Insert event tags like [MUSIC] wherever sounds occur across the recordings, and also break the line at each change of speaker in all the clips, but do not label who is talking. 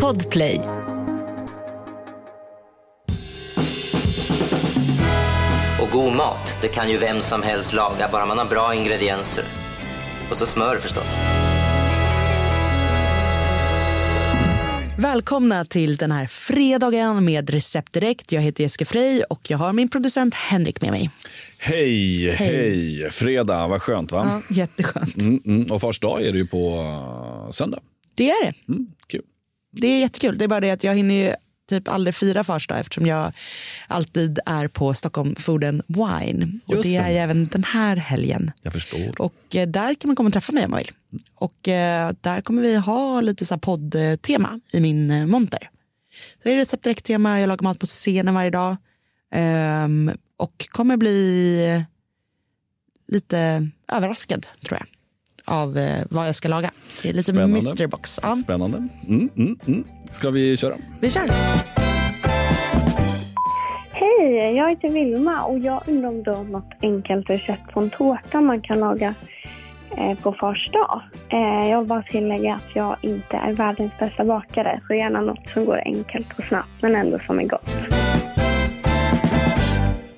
Podplay.
Och god mat, det kan ju vem som helst laga, bara man har bra ingredienser. Och så smör förstås.
Välkomna till den här fredagen med Recept Direkt. Jag heter Jessica Frey och jag har min producent Henrik med mig.
Hej, hej, Fredag, vad skönt va?
Ja, jätteskönt.
Mm, mm. Och fars dag är det ju på eh, söndag.
Det är det.
Mm, kul.
Det är jättekul. Det är bara det att jag hinner ju typ aldrig fira fars dag eftersom jag alltid är på Stockholm Food and Wine. och
Just
det
det.
är jag även den här helgen.
Jag förstår.
Och eh, där kan man komma och träffa mig om man vill. Och eh, där kommer vi ha lite så här poddtema i min eh, monter. Så är det recept direkt tema, jag lagar mat på scenen varje dag. Ehm, och kommer bli lite överraskad tror jag. Av eh, vad jag ska laga. Det är lite som
Spännande.
Mr Box. Ja,
Spännande. Mm, mm, mm. Ska vi köra?
vi kör.
Hej, jag heter Vilma och jag undrar om du har något enkelt recept på en tårta man kan laga eh, på fars dag. Eh, jag vill bara tillägga att jag inte är världens bästa bakare så gärna något som går enkelt och snabbt men ändå som är gott.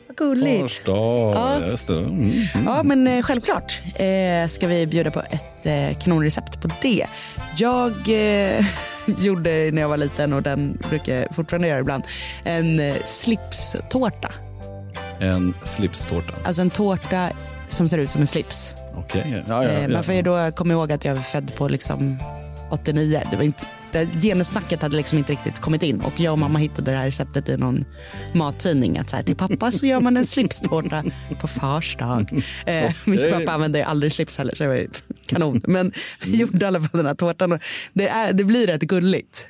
Vad gulligt.
Fars dag,
Ja.
just det. Mm, mm.
Ja, men eh, självklart eh, ska vi bjuda på ett eh, kanonrecept på det. Jag eh, [LAUGHS] gjorde när jag var liten, och den brukar jag fortfarande göra ibland, en eh, slipstårta.
En slipstårta.
Alltså en tårta som ser ut som en slips.
Okej. Ja, ja,
eh,
ja.
Man får ju då komma ihåg att jag är född på liksom 89. Det var inte, det genussnacket hade liksom inte riktigt kommit in och jag och mamma hittade det här receptet i någon mattidning. Att så här, till pappa så gör man en slipstårta [LAUGHS] på fars dag. Eh, Min pappa använde ju aldrig slips heller så det var ju [LAUGHS] kanon. Men
Mm.
vi gjorde i alla fall den här tårtan och det, är, det blir rätt gulligt.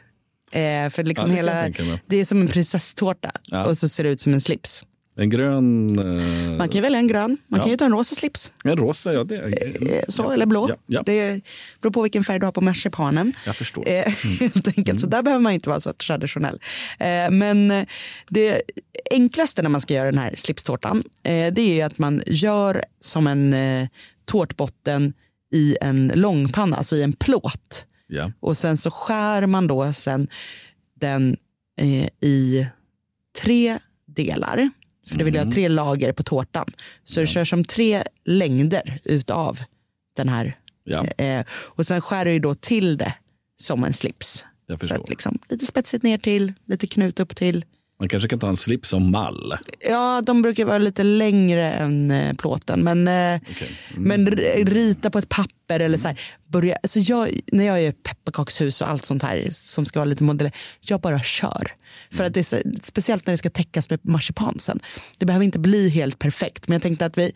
Eh, för liksom
Ja, det kan jag
hela,
tänka mig.
det är som en prinsesstårta
Ja.
och så ser det ut som en slips.
En grön... eh,
Man kan ju välja en grön, man kan
Ja.
ju ta en rosa slips.
En rosa, ja. Det, är-
Eh, Så, eller blå.
Ja, ja.
Det beror på vilken färg du har på marsipanen.
Jag förstår.
Eh, [LAUGHS] helt enkelt.
Mm.
Så där behöver man inte vara så traditionell. Eh, men eh, det enklaste när man ska göra den här slipstårtan eh, det är ju att man gör som en eh, tårtbotten i en långpanna, alltså i en plåt.
ja.
Och sen så skär man då sen den eh, i tre delar. För det vill jag
Mm.
ha tre lager på tårtan. Så du kör som tre längder utav den här.
ja.
Eh, och sen skär du ju då till det som en slips.
Jag
Så att
förstår.
liksom, lite spetsigt ner till, lite knut upp till.
Man kanske kan ta en slips som mall.
Ja, de brukar vara lite längre än eh, plåten. Men, eh, men r- rita på ett papper eller så här. Börja, alltså jag, när jag gör pepparkakshus och allt sånt här som ska vara lite modell, jag bara kör. För att det är så, speciellt när det ska täckas med marsipan sen. Det behöver inte bli helt perfekt. Men jag tänkte att vi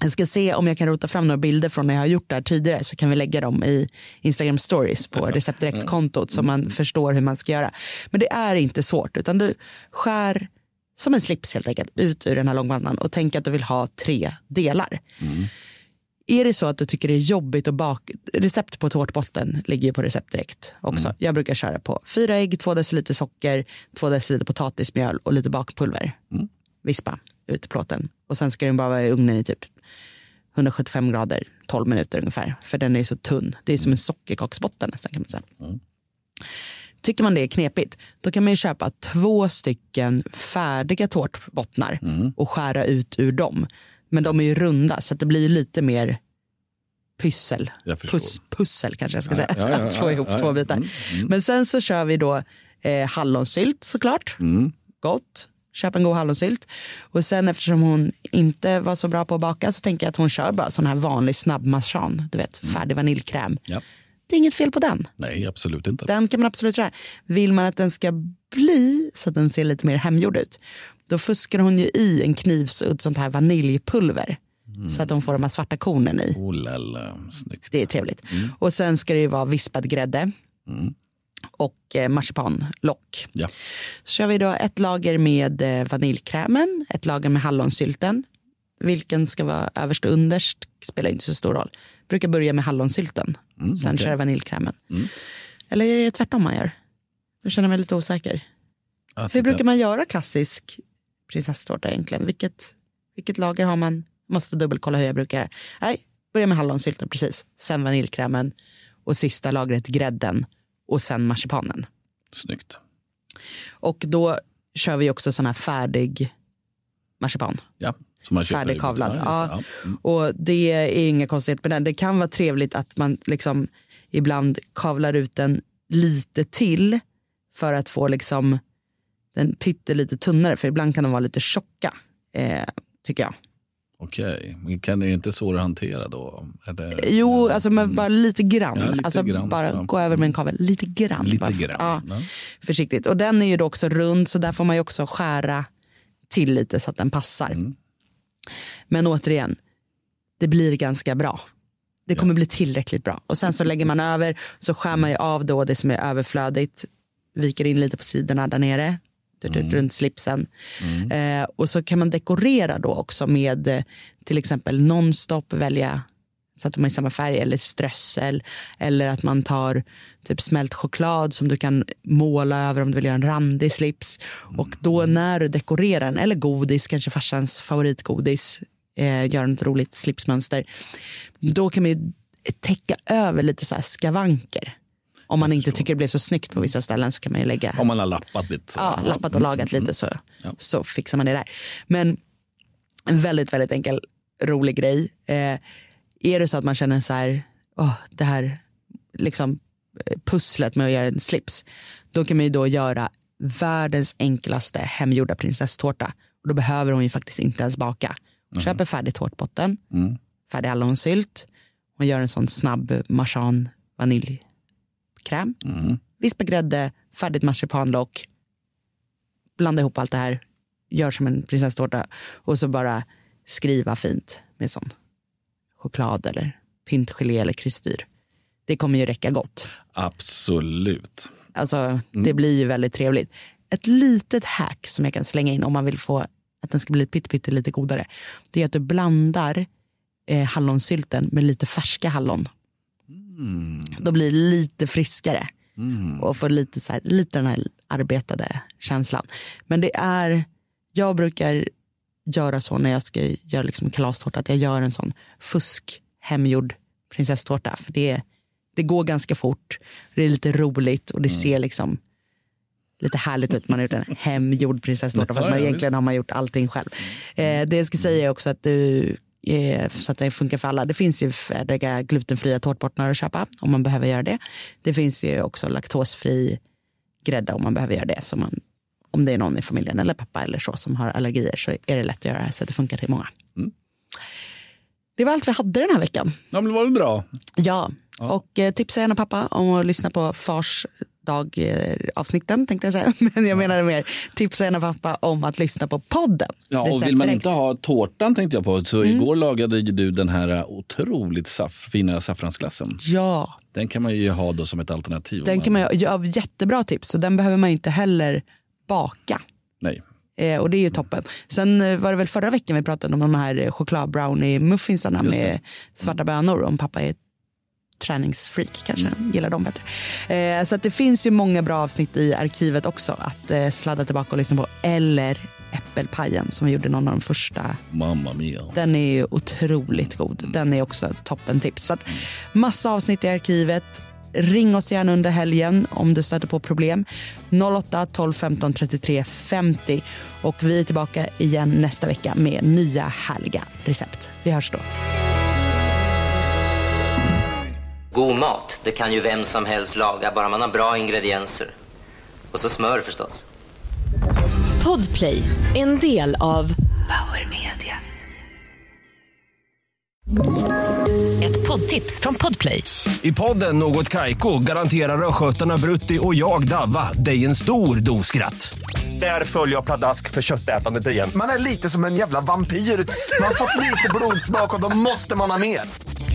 jag ska se om jag kan rota fram några bilder från när jag har gjort det här tidigare så kan vi lägga dem i Instagram stories på receptdirekt-kontot så man förstår hur man ska göra. Men det är inte svårt utan du skär som en slips helt enkelt ut ur den här långpannan och tänk att du vill ha tre delar. Är det så att du tycker det är jobbigt att baka, recept på tårtbotten ligger ju på recept direkt också. Jag brukar köra på fyra ägg, två deciliter socker, två deciliter potatismjöl och lite bakpulver. Vispa ut plåten och sen ska den bara vara i ugnen i typ 175 grader, 12 minuter ungefär. För den är ju så tunn. Det är som en sockerkaksbotten nästan kan man säga. Tycker man det är knepigt, då kan man ju köpa två stycken färdiga tårtbottnar
Mm,
och skära ut ur dem. Men de är ju runda så att det blir ju lite mer pyssel.
Jag förstår.
Puss, pussel kanske jag ska säga.
ja, ja,
att få
ja,
ihop [LAUGHS]
ja,
två
ja.
bitar.
Mm,
Men sen så kör vi då eh, hallonsylt såklart
Mm.
gott. Köp en god hallonsylt. Och sen eftersom hon inte var så bra på att baka så tänker jag att hon kör bara sån här vanlig snabbmarsan. Du vet, färdig vaniljkräm.
Ja.
Det är inget fel på den.
Nej, absolut inte.
Den kan man absolut köra. Vill man att den ska bli så att den ser lite mer hemgjord ut. Då fuskar hon ju i en knivsudd sånt här vaniljpulver. Så att de får de här svarta kornen i.
Oh, lala, snyggt.
Det är trevligt. Och sen ska det ju vara vispad grädde. Och eh, marsipanlock.
Ja.
Så kör vi då ett lager med eh, vaniljkrämen, ett lager med hallonsylten. Vilken ska vara överst och underst spelar inte så stor roll. Brukar börja med hallonsylten, sen
Mm, okej. Mm.
köra vaniljkrämen. Eller är det tvärtom man gör? Nu känner jag mig lite osäker.
Att
Hur
det-
brukar man göra klassisk prinsesstårta egentligen? Vilket, vilket lager har man? Måste dubbelkolla hur jag brukar. Nej, börja med hallonsylten precis. Sen vaniljkrämen och sista lagret grädden och sen marsipanen.
Snyggt.
Och då kör vi också sån här färdig marsipan.
Ja, som man köper i
Färdigkavlad,
butiken. just det.
ja.
Ja. Mm.
Och det är inga konstigheter med den. Det kan vara trevligt att man liksom ibland kavlar ut den lite till för att få liksom den pyttelite tunnare. För ibland kan de vara lite tjocka, eh, tycker jag.
Okej, men kan det inte svårhantera då? Eller,
Jo,
Ja.
alltså men bara lite grann.
Ja, lite
alltså
grann,
bara
ja.
gå över med en kavel. Lite grann. bara, för-
Lite grann.
Ja,
Ja.
försiktigt. Och den är ju då också rund så där får man ju också skära till lite så att den passar.
Mm.
Men återigen, det blir ganska bra. Det kommer bli tillräckligt bra. Och sen så lägger man över, så skär man ju av då det som är överflödigt. Viker in lite på sidorna där nere, tut, tut, runt slipsen.
Mm.
Eh, och så kan man dekorera då också med eh, till exempel nonstop, välja så att de är i samma färg, eller strössel. Eller att man tar typ smält choklad som du kan måla över om du vill göra en randig slips. Och då när du dekorerar den, eller godis, kanske farsans favoritgodis, eh, gör något roligt slipsmönster. Då kan man ju täcka över lite så här skavanker. Om man inte tycker det blev så snyggt på vissa ställen så kan man ju lägga
Om man har lappat lite. så.
ja, lappat och lagat Mm, lite så, så fixar man det där. Men en väldigt, väldigt enkel, rolig grej. Eh, är det så att man känner så här, åh, det här liksom, eh, pusslet med att göra en slips, då kan man ju då göra världens enklaste hemgjorda prinsesstårta. Och då behöver hon ju faktiskt inte ens baka. Hon köper färdig tårtbotten,
Mm.
färdig hallonsylt, hon gör en sån snabb marsan vaniljkräm,
Mm.
vispa grädde, färdigt marsipanlock. Blanda ihop allt det här, gör som en prinsesstårta och så bara skriva fint med sån choklad eller pyntgelé eller kristyr. Det kommer ju räcka gott.
Absolut.
Alltså, Det blir ju väldigt trevligt. Ett litet hack som jag kan slänga in om man vill få att den ska bli pytte, pytte lite godare. Det är att du blandar eh, hallonsylten med lite färska hallon. Då blir det lite friskare Mm.
Mm.
och får lite, så här, lite den här arbetade känslan. Men det är, jag brukar göra så när jag ska göra liksom kalastårta, att jag gör en sån fusk hemgjord prinsesstårta. För det, det går ganska fort, det är lite roligt och det
Mm.
ser liksom lite härligt ut. Man har gjort en hemgjord prinsesstårta fast
Ja,
man
ja,
egentligen
visst. Mm.
har man gjort allting själv. Eh, det jag ska säga är också att du eh, så att det funkar för alla. Det finns ju färdiga glutenfria tårtbottnar att köpa om man behöver göra det. Det finns ju också laktosfri grädde om man behöver göra det. Så man, om det är någon i familjen eller pappa eller så som har allergier så är det lätt att göra det här så att det funkar till många. Det var allt vi hade den här veckan.
Ja, men det var väl bra.
Ja, och eh, tipsa gärna pappa om att lyssna på fars dag eh, avsnitten tänkte jag säga. [LAUGHS] Men jag menade mer tipsa gärna pappa om att lyssna på podden.
Ja, och
Recept
vill man
direkt.
inte ha tårtan tänkte jag på, så
Mm.
igår lagade ju du den här äh, otroligt saff, fina saffransglassen.
Ja,
Den kan man ju ha då som ett alternativ. om
den kan man ju, ja, jättebra tips och den behöver man ju inte heller baka.
Nej.
Eh, och det är ju toppen. Sen eh, var det väl förra veckan vi pratade om de här eh, chokladbrownie-muffinsarna
Just
med svarta bönor. Om pappa är träningsfreak kanske han gillar dem bättre. Eh, så att det finns ju många bra avsnitt i arkivet också att eh, sladda tillbaka och lyssna på. Eller äppelpajen som vi gjorde någon av de första.
Mamma mia.
Den är ju otroligt god. Den är också ett toppentips. Så att massa avsnitt i arkivet. Ring oss gärna under helgen om du stöter på problem. 08 12 15 33 50. Och vi är tillbaka igen nästa vecka med nya härliga recept. Vi hörs då.
God mat, det kan ju vem som helst laga, bara man har bra ingredienser. Och så smör förstås.
Podplay, en del av Power Media. Ett poddtips från Podplay.
I podden Något Kaiko garanterar östgötarna Brutti och jag, Davva, dig en stor dos skratt. Där följer jag pladask för köttätandet igen.
Man är lite som en jävla vampyr. Man har fått lite blodsmak och då måste man ha mer.